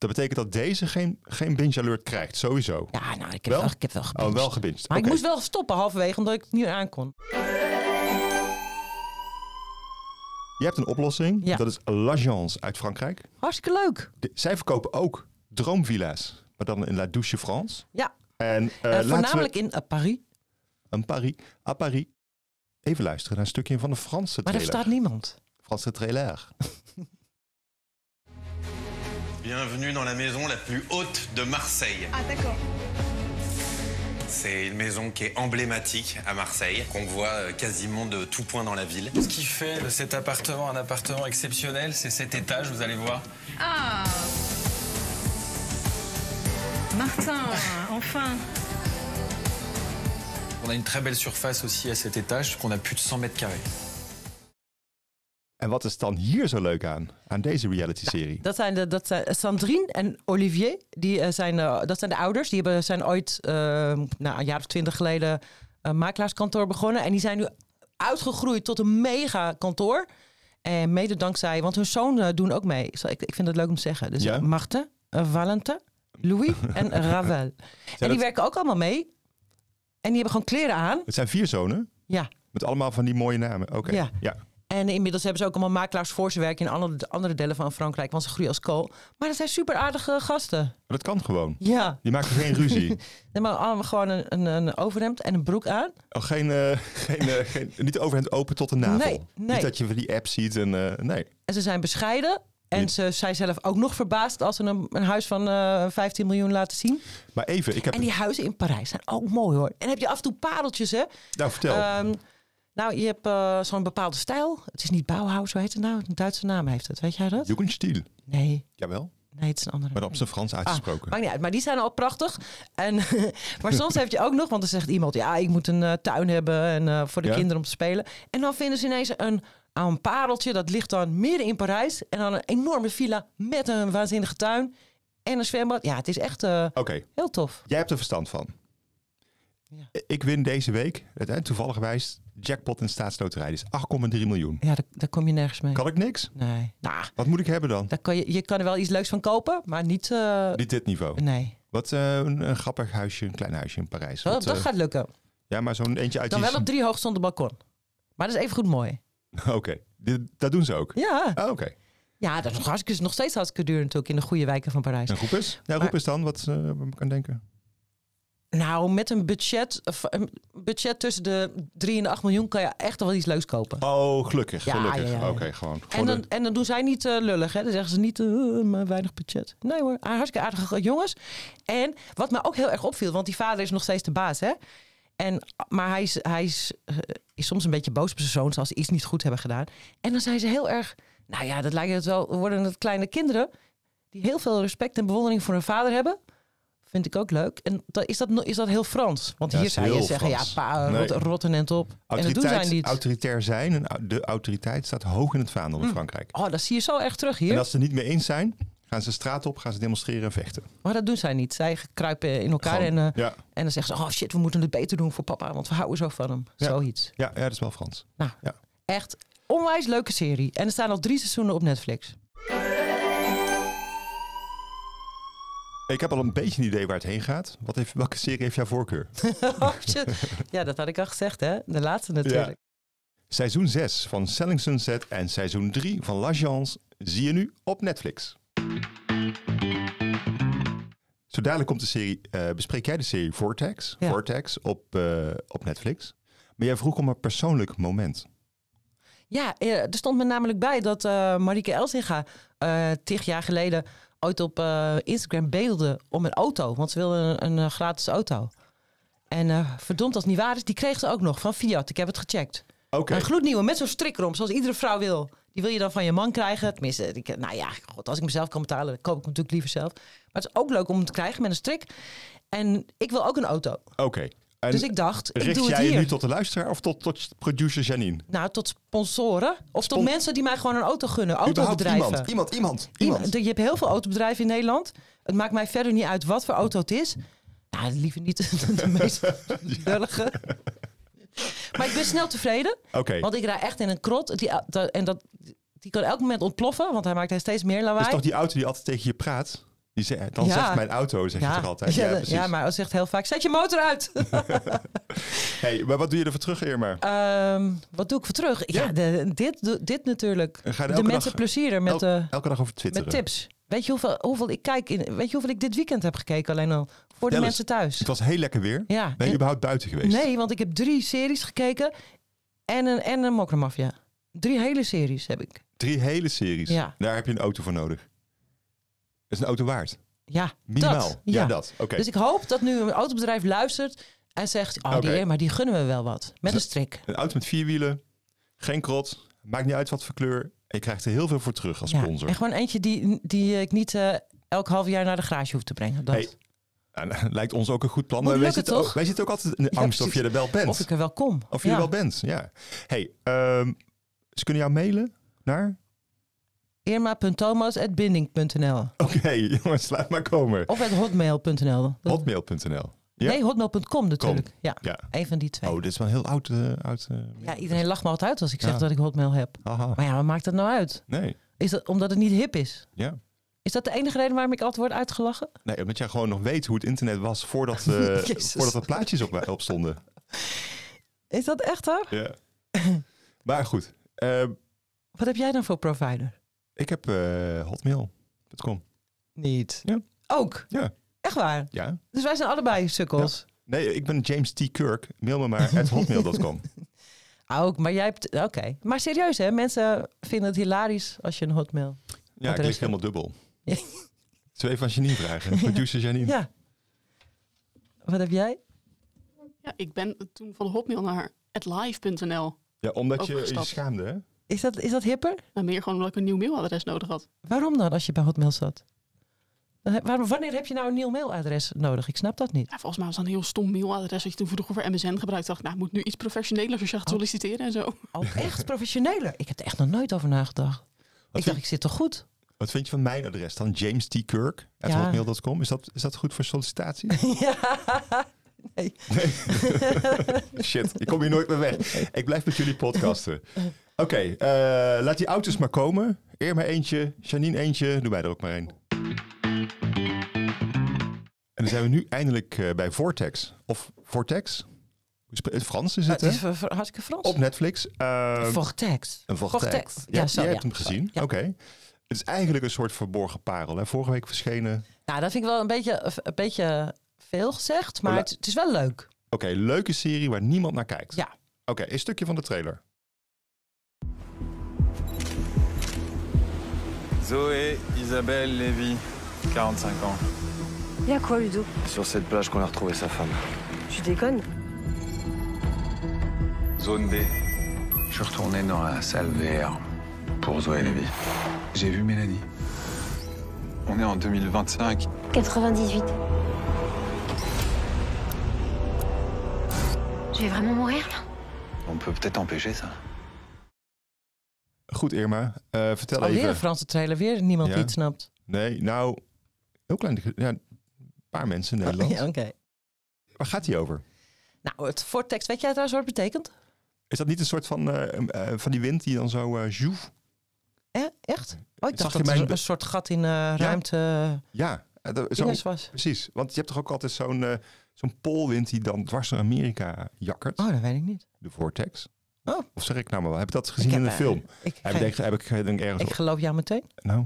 B: Dat betekent dat deze geen, geen binge alert krijgt, sowieso.
A: Ja, nou, ik heb
B: Wel?
A: wel, ik heb wel gebinged.
B: Oh, wel gebinged.
A: Maar
B: Oké.
A: ik moest wel stoppen halverwege omdat ik het niet meer aan kon.
B: Je hebt een oplossing.
A: Ja.
B: Dat is L'Agence uit Frankrijk.
A: Hartstikke leuk.
B: De- zij verkopen ook droomvilla's, maar dan in La Douche France.
A: Ja.
B: En eh,
A: Eh,
B: laten
A: voornamelijk
B: we
A: in eh, Paris.
B: een Paris, à Paris. Even luisteren naar een stukje van de Franse
A: Maar daar
B: trailer.
A: staat niemand.
B: Franse trailer.
N: Bienvenue dans la maison la plus haute de Marseille.
O: Ah d'accord.
N: C'est une maison qui est emblématique à Marseille, qu'on voit euh, quasiment de tout point dans la ville.
P: Ce qui fait de cet appartement un appartement exceptionnel, c'est cet étage, vous allez voir.
Q: Ah Martin, enfin
P: On a une très belle surface aussi à cet étage, puisqu'on a plus de 100 mètres carrés.
B: En wat is dan hier zo leuk aan, aan deze reality-serie?
A: Dat zijn, de, dat zijn Sandrine en Olivier. Die, eh, zijn, eh, dat zijn de ouders. Die hebben, zijn ooit, eh, nou, een jaar of twintig geleden, eh, een makelaarskantoor begonnen. En die zijn nu uitgegroeid tot een mega kantoor. En mede dankzij, want hun zoon eh, doen ook mee. Zo, Ik, ik vind het leuk om te zeggen. Dus
B: Ja?
A: eh, Marten, eh, Valente, Louis en Ravel. en die
B: dat-
A: werken ook allemaal mee. En die hebben gewoon kleren aan.
B: Het zijn vier zonen.
A: Ja.
B: Met allemaal van die mooie namen. Oké.
A: Ja.
B: Ja.
A: En inmiddels hebben ze ook allemaal makelaars voor ze werken in andere, andere delen van Frankrijk, want ze groeien als kool. Maar dat zijn super aardige gasten.
B: Maar dat kan gewoon.
A: Ja.
B: Je maakt geen ruzie.
A: Nee, maar allemaal gewoon een, een, een overhemd en een broek aan.
B: Oh, geen, eh, geen, eh, geen, niet overhand open tot de navel.
A: Nee, nee.
B: Niet dat je die app ziet en eh, nee.
A: En ze zijn bescheiden. En ze zijn zelf ook nog verbaasd als ze een, een huis van eh 15 miljoen laten zien.
B: Maar even, ik heb...
A: En die huizen in Parijs zijn ook mooi hoor. En heb je af en toe pareltjes hè?
B: Nou, vertel.
A: Ehm, nou, je hebt eh, zo'n bepaalde stijl. Het is niet Bauhaus, hoe heet het nou? Een Duitse naam heeft het, weet jij dat?
B: Jugendstil.
A: Nee.
B: Jawel.
A: Nee, het is een andere.
B: Maar dan op zijn Frans
A: Ah,
B: uitgesproken.
A: maakt niet uit, maar die zijn al prachtig. En, maar soms heb je ook nog, want dan zegt iemand... ja, ik moet een eh, tuin hebben en, eh, voor de
B: Ja.
A: kinderen om te spelen. En dan vinden ze ineens een, een pareltje, dat ligt dan midden in Parijs... en dan een enorme villa met een waanzinnige tuin en een zwembad. Ja, het is echt eh,
B: Oké.
A: heel tof.
B: Jij hebt er verstand van. Ik win deze week, uiteindelijk toevallig gewijs, jackpot in de staatsloterij. Dus 8,3 miljoen.
A: Ja, daar, daar kom je nergens mee.
B: Kan ik niks?
A: Nee. Nou,
B: Wat moet ik hebben dan?
A: Daar kan je, je kan er wel iets leuks van kopen, maar niet... eh,
B: Niet dit niveau.
A: Nee.
B: Wat eh, een, een grappig huisje, een klein huisje in Parijs.
A: dat
B: Wat,
A: dat
B: eh,
A: gaat lukken.
B: Ja, maar zo'n eentje uit
A: Dan
B: die...
A: wel op drie hoog zonder balkon. Maar dat is even goed mooi.
B: Oké, Dit- dat doen ze ook.
A: Ja.
B: Ah, Oké.
A: Ja, dat is nog, hartstikke, nog steeds hartstikke duur natuurlijk in de goede wijken van Parijs.
B: En groep is? Ja, groep is dan wat eh, we kan denken.
A: Nou, met een budget, eh, v- een budget tussen de 3 en de 8 miljoen kan je echt wel iets leuks kopen.
B: Oh, gelukkig,
A: Ja,
B: gelukkig.
A: ja, ja, ja.
B: Oké, gewoon.
A: En
B: gewoon
A: dan,
B: de-
A: en dan doen zij niet eh, lullig, hè? Dan zeggen ze niet, eh, maar weinig budget. Nee hoor, ah, hartstikke aardige jongens. En wat me ook heel erg opviel, want die vader is nog steeds de baas, hè? En, maar hij, is, hij is, eh, is soms een beetje boos op zijn zoons als ze iets niet goed hebben gedaan. En dan zijn ze heel erg, nou ja, dat lijkt het wel, worden het kleine kinderen die heel veel respect en bewondering voor hun vader hebben. Vind ik ook leuk. En da- is, dat, no- is dat heel Frans? Want
B: Ja,
A: hier
B: is
A: zou je
B: heel
A: zeggen,
B: Frans.
A: ja, pa, eh,
B: Nee.
A: rot- rotten en top. En dat doen
B: Autoriteit-
A: zij niet.
B: Autoritair zijn, en au- de autoriteit staat hoog in het vaandel in
A: Hm.
B: Frankrijk.
A: Oh, dat zie je zo erg terug hier.
B: En als ze het niet mee eens zijn, gaan ze de straat op, gaan ze demonstreren en vechten.
A: Maar dat doen zij niet. Zij kruipen in elkaar en,
B: Gewoon,
A: eh,
B: ja.
A: en dan zeggen ze: Oh shit, we moeten het beter doen voor papa, want we houden zo van hem.
B: Ja.
A: Zoiets.
B: Ja, ja, dat is wel Frans.
A: Nou,
B: Ja.
A: echt onwijs leuke serie. En er staan al drie seizoenen op Netflix.
B: Ik heb al een beetje een idee waar het heen gaat. Wat heeft, welke serie heeft jouw voorkeur?
A: Oh, shit. ja, dat had ik al gezegd, hè? De laatste natuurlijk.
B: Seizoen 6 van Selling Sunset en seizoen 3 van L'Agence zie je nu op Netflix. Zo dadelijk komt de serie, eh, bespreek jij de serie Vortex, Vortex op, eh, op Netflix. Maar jij vroeg om een persoonlijk moment.
A: Ja, eh, er stond me namelijk bij dat eh Marieke Elsinga eh tig jaar geleden ooit op eh, Instagram beelde om een auto. Want ze wilde een, een, eh, gratis auto. En eh, verdomd als het niet waar is, die kreeg ze ook nog van Fiat. Ik heb het gecheckt.
B: Oké.
A: Een gloednieuwe met zo'n strik erom, zoals iedere vrouw wil. Die wil je dan van je man krijgen. Tenminste, ik, nou ja, god, als ik mezelf kan betalen, dan koop ik hem natuurlijk liever zelf. Maar het is ook leuk om hem te krijgen met een strik. En ik wil ook een auto.
B: Oké. En
A: Dus ik dacht, ik
B: richt
A: doe het
B: jij je
A: hier.
B: nu tot de luisteraar of tot, tot producer Janine?
A: Nou, tot sponsoren. Of tot
B: Spon-
A: mensen die mij gewoon een auto gunnen.
B: Überhaupt
A: Autobedrijven.
B: iemand, iemand, iemand,
A: Iemand-
B: iemand.
A: Je hebt heel veel autobedrijven in Nederland. Het maakt mij verder niet uit wat voor auto het is. Nou, liever niet de meest dullige. Maar ik ben snel tevreden.
B: Oké.
A: Want ik rij echt in een krot. Die, au- da- en dat, die kan elk moment ontploffen, want hij maakt steeds meer lawaai.
B: Dat is toch die auto die altijd tegen je praat? Die zegt, dan
A: Ja.
B: zegt mijn auto, zeg
A: ja.
B: je toch altijd?
A: Ja,
B: Ja,
A: dat-
B: precies.
A: ja, maar hij zegt heel vaak, zet je motor uit.
B: Hey, maar wat doe je ervoor terug, Irma?
A: Ehm, wat doe ik voor terug? Ja, de- dit, dit natuurlijk.
B: Ga je
A: de
B: elke
A: mensen
B: dag-
A: plezieren met...
B: el-
A: eh,
B: elke dag over twitteren.
A: Met tips. Weet je hoeveel, hoeveel ik kijk in, weet je hoeveel ik dit weekend heb gekeken alleen al voor de
B: Dennis,
A: mensen thuis?
B: Het was heel lekker weer.
A: Ja.
B: Ben je
A: En-
B: überhaupt buiten geweest?
A: Nee, want ik heb drie series gekeken en een en een Mokromafia. Drie hele series heb ik.
B: Drie hele series.
A: Ja.
B: Daar heb je een auto voor nodig. Dat is een auto waard.
A: Ja,
B: Minimaal.
A: dat.
B: Ja, dat. Oké.
A: Dus ik hoop dat nu een autobedrijf luistert en zegt: Oh, die
B: Oké.
A: heer, maar die gunnen we wel wat. Met een strik.
B: Een auto met vier wielen, geen krot, maakt niet uit wat voor kleur. En je krijgt er heel veel voor terug als
A: Ja, en
B: sponsor.
A: gewoon eentje die, die ik niet eh, elk half jaar naar de garage hoef te brengen. Dat.
B: Hey, nou, lijkt ons ook een goed plan.
A: Moet
B: Maar wij,
A: lukken,
B: zitten
A: toch?
B: ook, wij zitten ook altijd in de
A: Ja,
B: angst of
A: precies.
B: je er wel bent.
A: Of ik er wel kom.
B: Of je
A: Ja.
B: er wel bent, ja. Hey, ehm, ze kunnen jou mailen naar...
A: Irma.thomas.binding.nl
B: Oké, jongens, laat maar komen.
A: of at hotmail.nl.
B: Hotmail.nl. Ja.
A: Nee, hotmail.com natuurlijk.
B: Com.
A: Ja,
B: Ja.
A: een van die twee.
B: Oh, dit is wel een heel oud. eh, oud eh,
A: Ja, iedereen lacht me altijd uit als ik zeg
B: Ja.
A: dat ik hotmail heb.
B: Aha.
A: Maar ja, wat maakt dat nou uit?
B: Nee,
A: Is dat omdat het niet hip is?
B: ja.
A: Is dat de enige reden waarom ik altijd word uitgelachen?
B: Nee, omdat jij gewoon nog weet hoe het internet was voordat, eh
A: Jezus.
B: voordat er plaatjes op, op stonden.
A: Is dat echt hoor?
B: Ja. maar goed, eh,
A: Wat heb jij dan voor provider?
B: ik heb eh, hotmail.com.
A: Niet.
B: Ja.
A: Ook?
B: Ja.
A: Echt waar?
B: Ja.
A: Dus wij zijn allebei sukkels.
B: Nee, ik ben James T. Kirk. Mail me maar at hotmail.com.
A: Ah, Ook, maar jij hebt... Oké. Maar serieus hè, mensen vinden het hilarisch als je een hotmail...
B: Ja,
A: adres
B: ik klik
A: hebt.
B: helemaal dubbel.
A: Ja.
B: Twee van Janine vragen.
A: Ja.
B: Producer Janine.
A: Ja. Wat heb jij?
H: Ja, ik ben toen van hotmail naar atlive.nl.
B: Ja, omdat je je
H: Overgestapt.
B: schaamde, hè?
A: Is dat, is dat hipper?
H: Nou, meer gewoon omdat ik een nieuw mailadres nodig had.
A: Waarom dan als je bij Hotmail zat? Dan heb- waarom- wanneer heb je nou een nieuw mailadres nodig? Ik snap dat niet.
H: Ja, volgens mij was dat een heel stom mailadres dat je toen vroeger voor MSN gebruikt. Dacht, ik, nou, ik moet nu iets professioneler als je gaat solliciteren en zo.
A: Oh, echt professioneler? Ik heb er echt nog nooit over nagedacht. ik dacht, ik zit toch goed?
B: Wat vind je van mijn adres dan? James T. Kirk at
A: Ja.
B: hotmail.com. Is dat, is dat goed voor sollicitatie?
A: Nee.
B: Shit, ik kom hier nooit meer weg. Ik blijf met jullie podcasten. Oké, eh, laat die auto's maar komen. Eer maar eentje, Janine eentje, doe mij er ook maar één. En dan zijn we nu eindelijk eh, bij Vortex. Of Vortex? Hoe sp- Het Frans is het,
A: Ah, Het is
B: hè?
A: ver- ver- hartstikke Frans.
B: Op Netflix. eh,
A: Vortex.
B: Een vortex.
A: Vortex.
B: Ja,
A: Ja, zo,
B: jij
A: ja.
B: hebt hem gezien.
A: Ja.
B: Oké. Het is eigenlijk een soort verborgen parel. Hè? Vorige week verschenen.
A: Nou, dat vind ik wel een beetje, een beetje veel gezegd, maar
B: Hola.
A: het, het is wel leuk.
B: Oké, leuke serie waar niemand naar kijkt.
A: Ja.
B: Oké, een stukje van de trailer.
L: Zoé Isabelle Lévy, 45 ans.
O: Il y a quoi, Ludo
L: Sur cette plage qu'on a retrouvé sa femme.
O: Tu déconnes
N: Zone B. Je suis retourné dans la salle VR pour Zoé Lévy. J'ai vu Mélanie. On est en 2025.
O: 98. Je vais vraiment mourir là
N: On peut peut-être empêcher ça.
B: Goed, Irma. eh, vertel
A: Alweer
B: even.
A: een Franse trailer, weer niemand
B: Ja.
A: die het snapt.
B: Nee, nou, heel klein. Ja, een paar mensen in Nederland.
A: Oh, Ja, Oké.
B: Waar gaat die over?
A: Nou, het vortex, weet jij trouwens wat het betekent?
B: Is dat niet een soort van, eh, eh, van die wind die dan zo... eh joef?
A: Eh, echt? Oh, ik
B: Zag
A: dacht
B: je
A: dat
B: mijn
A: er
B: be-
A: een soort gat in eh, ruimte
B: Ja. eh, dat- zo-
A: dinges was.
B: precies. Want je hebt toch ook altijd zo'n eh, zo'n poolwind die dan dwars door Amerika jakkert?
A: Oh, dat weet ik niet.
B: De vortex.
A: Oh.
B: Of zeg ik nou maar wel? Heb je dat gezien
A: Ik
B: in de
A: heb, eh,
B: film?
A: ik-
B: heb, ik, heb ik eh, denk ergens...
A: Ik geloof jou meteen.
B: Nou...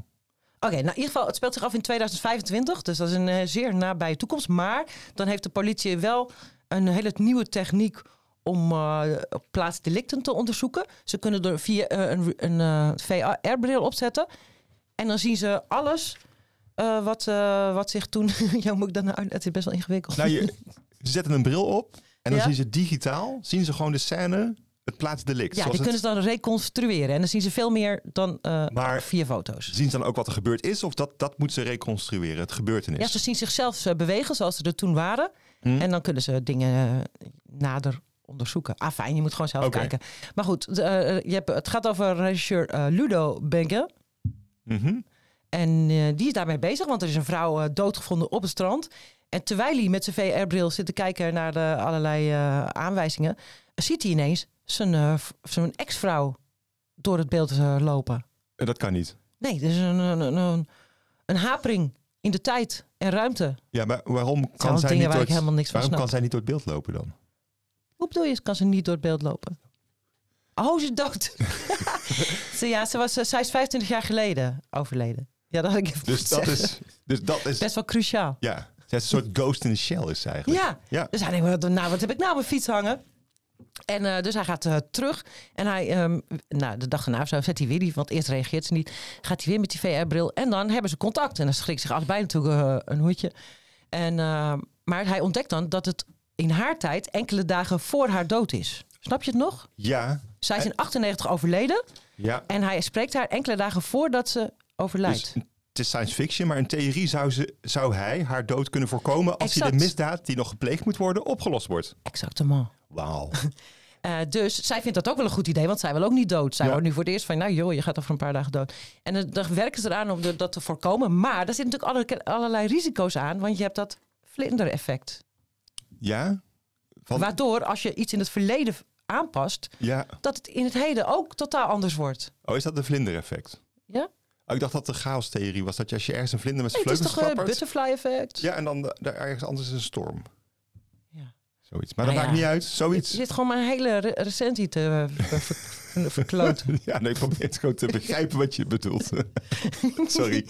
A: Oké, nou in ieder geval, het speelt zich af in 2025. Dus dat is een eh, zeer nabije toekomst. Maar dan heeft de politie wel een hele nieuwe techniek om eh plaatsdelicten te onderzoeken. Ze kunnen er via eh, een, een VR-bril opzetten. En dan zien ze alles eh, wat, eh, wat zich toen... ja, moet ik dat nou uit- Het is best wel ingewikkeld.
B: Nou, je, ze zetten een bril op en dan
A: Ja.
B: zien ze digitaal, zien ze gewoon de scène, het plaatsdelict.
A: ja, die
B: zoals
A: kunnen
B: het-
A: ze dan reconstrueren. En dan zien ze veel meer dan... eh,
B: maar
A: via foto's.
B: Zien ze dan ook wat er gebeurd is of dat, dat moeten ze reconstrueren, het gebeurtenis?
A: ja, ze zien zichzelf eh, bewegen zoals ze er toen waren. En dan kunnen ze dingen eh, nader onderzoeken. Ah, fijn, je moet gewoon zelf
B: Oké.
A: kijken. Maar goed, de, eh, je hebt, het gaat over regisseur eh, Ludo Benke.
B: Mhm.
A: En eh, die is daarmee bezig, want er is een vrouw eh, doodgevonden op het strand. En terwijl hij met zijn VR-bril zit te kijken naar de allerlei eh, aanwijzingen, ziet hij ineens zijn, eh, v- zijn ex-vrouw door het beeld eh, lopen.
B: Eh, Dat kan niet.
A: Nee, er is een, een, een- een, een hapering in de tijd en ruimte.
B: Ja, maar waarom kan,
A: allemaal dingen
B: zij niet,
A: waar
B: door
A: ik
B: het-
A: helemaal niks van
B: waarom kan
A: snap.
B: zij niet door het beeld lopen dan?
A: Hoe bedoel je, kan ze niet door het beeld lopen? Oh, ze is dood. ze, ja, ze, was, eh, zij is 25 jaar geleden overleden. Ja, dat had ik even
B: Dus
A: moeten
B: dat
A: zeggen.
B: is, dus dat is
A: Best wel cruciaal.
B: ja, zij is een soort ghost in the shell is ze eigenlijk.
A: Ja. dus hij denkt, wat, nou, wat heb ik nou aan mijn fiets hangen? En eh, dus hij gaat eh, terug en hij, ehm, nou, de dag erna of zo zet hij weer die, want eerst reageert ze niet. Gaat hij weer met die VR-bril en dan hebben ze contact. En dan schrikt zich allebei natuurlijk eh, een hoedje. En, eh, maar hij ontdekt dan dat het in haar tijd enkele dagen voor haar dood is. Snap je het nog?
B: Ja,
A: Zij is in 98 overleden
B: ja.
A: en hij spreekt haar enkele dagen voordat ze overlijdt.
B: Dus het is science fiction, maar in theorie zou, ze, zou hij haar dood kunnen voorkomen als hij de
A: Exact.
B: misdaad die nog gepleegd moet worden opgelost wordt.
A: Exactement.
B: Wauw.
A: Eh, dus zij vindt dat ook wel een goed idee, want zij wil ook niet dood. Zij
B: Ja.
A: wordt nu voor het eerst van, nou joh, je gaat over een paar dagen dood. En dan, dan werken ze eraan om de- dat te voorkomen. Maar daar zitten natuurlijk alle- allerlei risico's aan, want je hebt dat vlindereffect.
B: Ja?
A: Waardoor als je iets in het verleden aanpast,
B: Ja.
A: dat het in het heden ook totaal anders wordt.
B: Oh, is dat de vlindereffect?
A: Ja?
B: Oh, ik dacht dat de chaos-theorie was. Dat je als je ergens een vlinder met
A: Nee,
B: zijn
A: het is
B: vleugels
A: toch eh, het
B: klappert-
A: butterfly effect?
B: Ja, en dan eh, daar ergens anders is een storm.
A: Ja.
B: Zoiets. Maar dat
A: Nou
B: maakt
A: ja.
B: niet uit. Zoiets.
A: Je zit gewoon maar een hele re- recensie te eh, ver- ver- verkloten.
B: ja, nee, ik probeer het gewoon te begrijpen wat je bedoelt. Sorry.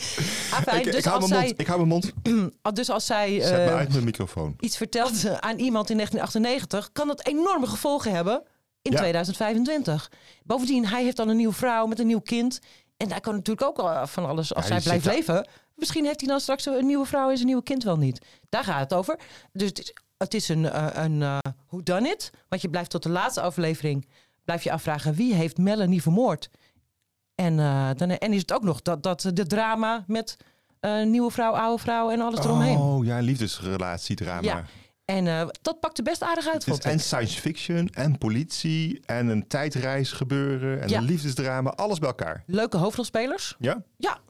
A: Afijn,
B: ik,
A: dus
B: ik, hou
A: als
B: mijn mond,
A: zij-
B: ik hou mijn mond.
A: Ah, dus als zij
B: Zet me
A: eh,
B: uit mijn microfoon.
A: iets vertelt eh, aan iemand in 1998, kan dat enorme gevolgen hebben in
B: Ja.
A: 2025. Bovendien, hij heeft dan een nieuwe vrouw met een nieuw kind. En daar kan natuurlijk ook al van alles, als
B: Ja,
A: zij
B: die
A: blijft
B: zit daar-
A: leven, misschien heeft hij dan straks een nieuwe vrouw en zijn nieuwe kind wel niet. Daar gaat het over. Dus het is, het is een, eh, een hoe dan it? Want je blijft tot de laatste aflevering, blijf je afvragen wie heeft Melanie vermoord? En, eh, dan, en is het ook nog dat, dat de drama met eh, nieuwe vrouw, oude vrouw en alles eromheen.
B: Oh ja, liefdesrelatiedrama.
A: Ja. En eh, dat pakte best aardig uit,
B: Dus
A: vond ik.
B: en science fiction, en politie, en een tijdreis gebeuren, en
A: Ja.
B: een liefdesdrama, alles bij elkaar.
A: Leuke hoofdrolspelers.
B: Ja?
A: Ja.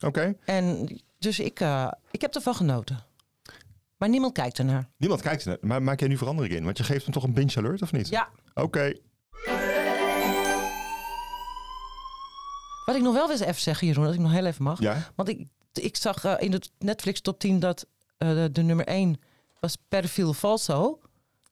B: Oké.
A: En dus ik, eh, ik heb ervan genoten. Maar niemand kijkt ernaar.
B: Niemand kijkt ernaar. Maar maak jij nu verandering in? Want je geeft hem toch een binge alert, of niet?
A: Ja.
B: Oké.
A: Wat ik nog wel eens even zeggen, Jeroen, dat ik nog heel even mag.
B: Ja?
A: Want ik, ik zag eh, in de Netflix top 10 dat eh, de, de nummer 1 was Perfil Falso.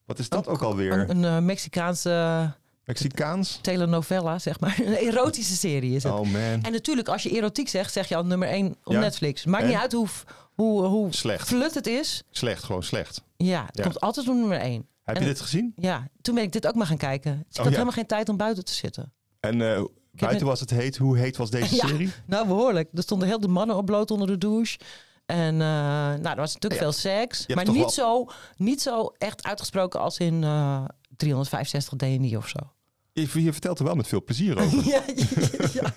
B: Wat is dat ook alweer?
A: Een, een, eh, Mexicaanse... eh,
B: Mexicaans?
A: Telenovela, zeg maar. Een erotische serie is het.
B: Oh, man.
A: En natuurlijk, als je erotiek zegt, zeg je al nummer 1 op
B: Ja.
A: Netflix. Maakt
B: En?
A: niet uit hoe, hoe, hoe
B: Slecht.
A: flut het is.
B: Slecht, gewoon slecht.
A: Ja, het
B: Ja.
A: komt altijd op nummer 1.
B: Heb je dit gezien?
A: Ja, toen ben ik dit ook maar gaan kijken. Dus ik
B: Oh,
A: had
B: ja.
A: helemaal geen tijd om buiten te zitten.
B: En eh, buiten
A: net-
B: was het heet. Hoe heet was deze
A: Ja,
B: serie?
A: nou behoorlijk. Er stonden heel de mannen op bloot onder de douche. En eh, nou, er was natuurlijk veel seks.
B: hebt
A: Maar
B: toch
A: niet,
B: wel-
A: zo, niet zo echt uitgesproken als in eh 365 DNI of zo.
B: Je, je vertelt er wel met veel plezier over.
A: ja, ja, ja.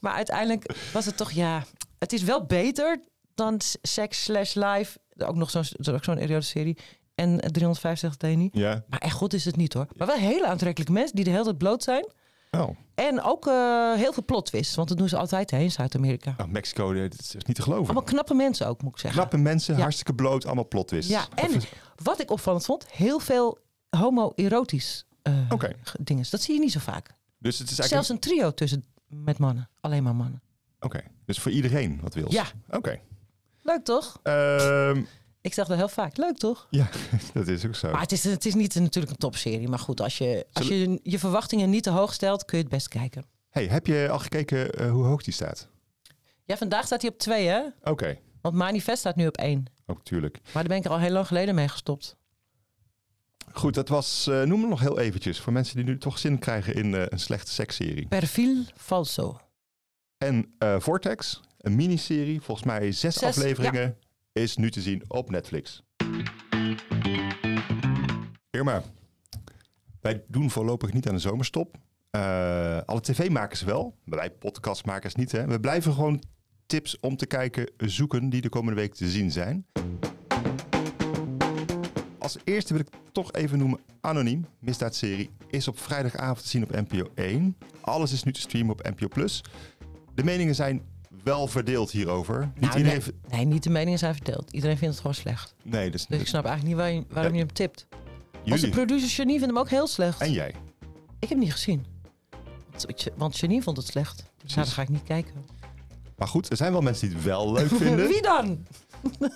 A: Maar uiteindelijk was het toch, ja, het is wel beter dan s- Sex slash Life. Ook nog zo'n er is ook zo'n erotische serie. En eh, 365 Deni.
B: Ja.
A: Maar echt god is het niet hoor. Maar wel hele aantrekkelijke mensen die de hele tijd bloot zijn.
B: Oh.
A: En ook eh, heel veel plot twists, want dat doen ze altijd hè, in Zuid-Amerika.
B: Nou, Mexico, eh, dit is niet te geloven.
A: Allemaal knappe mensen ook, moet ik zeggen.
B: Knappe mensen, hartstikke bloot, allemaal plotwist.
A: Ja, en wat ik opvallend vond, heel veel homoerotisch eh ge- dingen. Dat zie je niet zo vaak.
B: Dus het is eigenlijk...
A: Zelfs een trio tussen met mannen. Alleen maar mannen.
B: Oké, dus voor iedereen wat wil.
A: Ja.
B: Oké.
A: Leuk toch?
B: Ehm,
A: Ik zeg dat heel vaak. Leuk toch?
B: ja, dat is ook zo.
A: Maar het is, het is niet een- natuurlijk een topserie. Maar goed, als je als
B: Zullen-
A: je, je verwachtingen niet te hoog stelt, kun je het best kijken.
B: Hey, heb je al gekeken eh, hoe hoog die staat?
A: Ja, vandaag staat hij op twee, hè?
B: Oké,
A: Want Manifest staat nu op één.
B: ook tuurlijk.
A: Maar daar ben ik er al heel lang geleden mee gestopt.
B: Goed, dat was, eh, noem hem nog heel eventjes, voor mensen die nu toch zin krijgen in eh, een slechte seksserie.
A: Perfil Falso.
B: En eh, Vortex, een miniserie, volgens mij zes,
A: Zes,
B: afleveringen, is nu te zien op Netflix. Irma, wij doen voorlopig niet aan de zomerstop. Eh, alle tv-makers wel, maar wij podcastmakers niet. Hè? We blijven gewoon tips om te kijken, zoeken, die de komende week te zien zijn. Als eerste wil ik toch even noemen Anoniem, misdaadserie, is op vrijdagavond te zien op NPO 1. Alles is nu te streamen op NPO+. Plus. De meningen zijn wel verdeeld hierover. Niet
A: Nou,
B: iedereen...
A: nee, nee, niet de meningen zijn verdeeld. Iedereen vindt het gewoon slecht.
B: Nee, dus,
A: Dus ik snap eigenlijk niet waar je- waarom je hem tipt. Onze
B: jullie
A: producer Janine vindt hem ook heel slecht.
B: en jij.
A: Ik heb hem niet gezien. Want- Want Janine vond het slecht. Dus nou, dan ga ik niet kijken.
B: Maar goed, er zijn wel mensen die het wel leuk vinden.
A: Wie dan?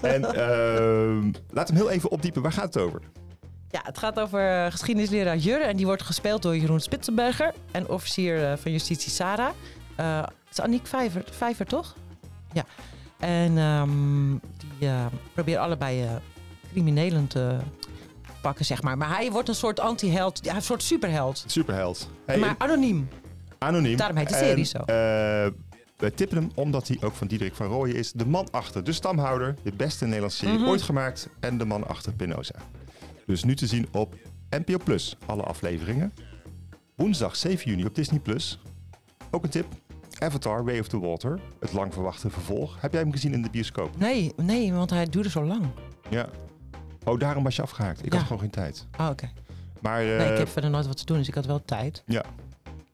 B: En ehm, laat hem heel even opdiepen. Waar gaat het over?
A: Ja, het gaat over eh, geschiedenisleraar Jurre en die wordt gespeeld door Jeroen Spitsenberger en officier eh, van justitie Sarah. Eh, het is Annick Vijver, Vijver toch? Ja. En ehm, die eh, proberen allebei eh, criminelen te pakken, zeg maar. Maar hij wordt een soort anti-held, ja, een soort superheld.
B: Superheld. Hey,
A: maar anoniem.
B: Anoniem.
A: Daarom heet de serie
B: En,
A: zo.
B: eh, we tippen hem omdat hij ook van Diederik van Rooyen is. De man achter De Stamhouder. De beste Nederlandse serie
A: Mhm.
B: ooit gemaakt. En de man achter Pinoza. Dus nu te zien op NPO Plus. Alle afleveringen. Woensdag 7 juni op Disney Plus. Ook een tip. Avatar Way of the Water. Het lang verwachte vervolg. Heb jij hem gezien in de bioscoop?
A: Nee, nee, want hij duurde zo lang.
B: Ja. Oh, daarom was je afgehaakt. Ik
A: Ja.
B: had gewoon geen tijd.
A: Ah, oké.
B: Maar,
A: Nee, ik
B: eh,
A: heb verder nooit wat te doen, dus ik had wel tijd.
B: Ja.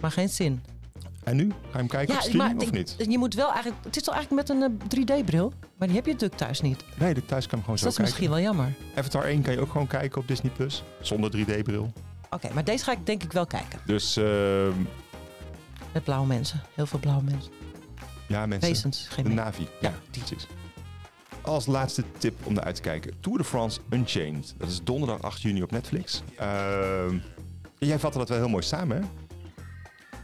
A: Maar geen zin.
B: En nu? Ga je hem kijken
A: Ja,
B: op stream
A: maar
B: of
A: ik-
B: niet?
A: je moet wel eigenlijk. Het is toch eigenlijk met een eh, 3D-bril? Maar die heb je natuurlijk thuis niet.
B: Nee, de thuis kan
A: Dus
B: je gewoon
A: dat
B: zo
A: is misschien
B: kijken.
A: wel jammer.
B: Avatar 1 kan je ook gewoon kijken op Disney+, Plus zonder 3D-bril.
A: Oké, maar deze ga ik denk ik wel kijken.
B: Dus ehm,
A: Met blauwe mensen. Heel veel blauwe mensen.
B: ja, mensen.
A: Wezens, geen
B: de
A: mensen.
B: Navi. Ja, precies. Als laatste tip om naar uit te kijken. Tour de France Unchained. Dat is donderdag 8 juni op Netflix. Ehm, jij vatte dat wel heel mooi samen, hè?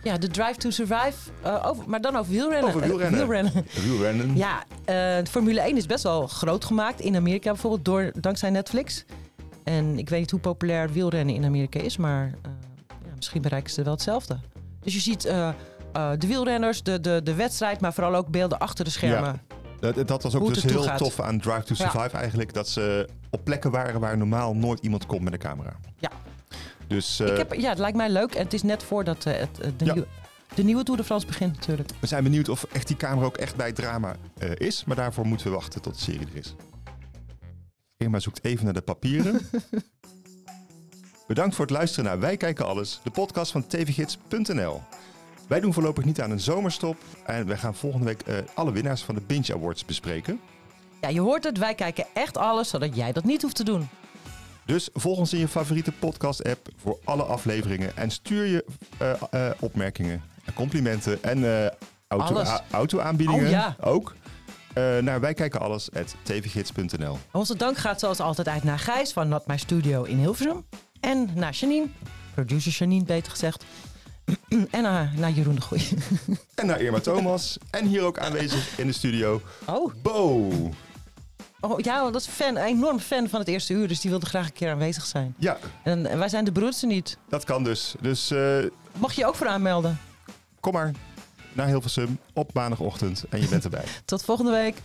A: Ja, de Drive to Survive. eh, over, maar dan over wielrennen.
B: Over
A: Eh,
B: wielrennen.
A: wielrennen.
B: Wielrennen.
A: Ja, eh, Formule 1 is best wel groot gemaakt in Amerika bijvoorbeeld door, dankzij Netflix. En ik weet niet hoe populair wielrennen in Amerika is, maar eh, ja, misschien bereiken ze wel hetzelfde. Dus je ziet eh, eh, de wielrenners, de, de, de wedstrijd, maar vooral ook beelden achter de schermen.
B: Ja. Dat, dat was ook
A: Hoe het
B: dus
A: ertoe
B: heel
A: gaat.
B: tof aan Drive to
A: Ja.
B: Survive eigenlijk. Dat ze op plekken waren waar normaal nooit iemand komt met een camera.
A: Ja.
B: Dus eh,
A: Ik heb, ja, het lijkt mij leuk en het is net voordat eh, het, eh, de, nieuwe, de nieuwe Tour de France begint natuurlijk.
B: we zijn benieuwd of echt die camera ook echt bij het drama eh, is. Maar daarvoor moeten we wachten tot de serie er is. Irma zoekt even naar de papieren. Bedankt voor het luisteren naar Wij Kijken Alles, de podcast van tvgids.nl. Wij doen voorlopig niet aan een zomerstop. En wij gaan volgende week eh, alle winnaars van de Binge Awards bespreken.
A: Ja, je hoort het, wij kijken echt alles, zodat jij dat niet hoeft te doen.
B: Dus volg ons in je favoriete podcast-app voor alle afleveringen. En stuur je eh, eh, opmerkingen, complimenten en eh auto-
A: Alles.
B: a- auto-aanbiedingen
A: Oh, ja.
B: ook. eh, naar wij kijken alles at tvgids.nl.
A: Onze dank gaat zoals altijd uit naar Gijs van Not My Studio in Hilversum. En naar Janine, producer Janine beter gezegd. En naar, naar Jeroen de Goeie.
B: En naar Irma Thomas. en hier ook aanwezig in de studio.
A: Oh.
B: Bo.
A: Oh ja, dat is een fan, een enorm fan van het eerste uur, dus die wilde graag een keer aanwezig zijn.
B: Ja.
A: En, en wij zijn de broertjes niet.
B: Dat kan dus. Dus eh,
A: Mag je je ook voor aanmelden?
B: kom maar naar Hilversum op maandagochtend en je bent erbij.
A: Tot volgende week.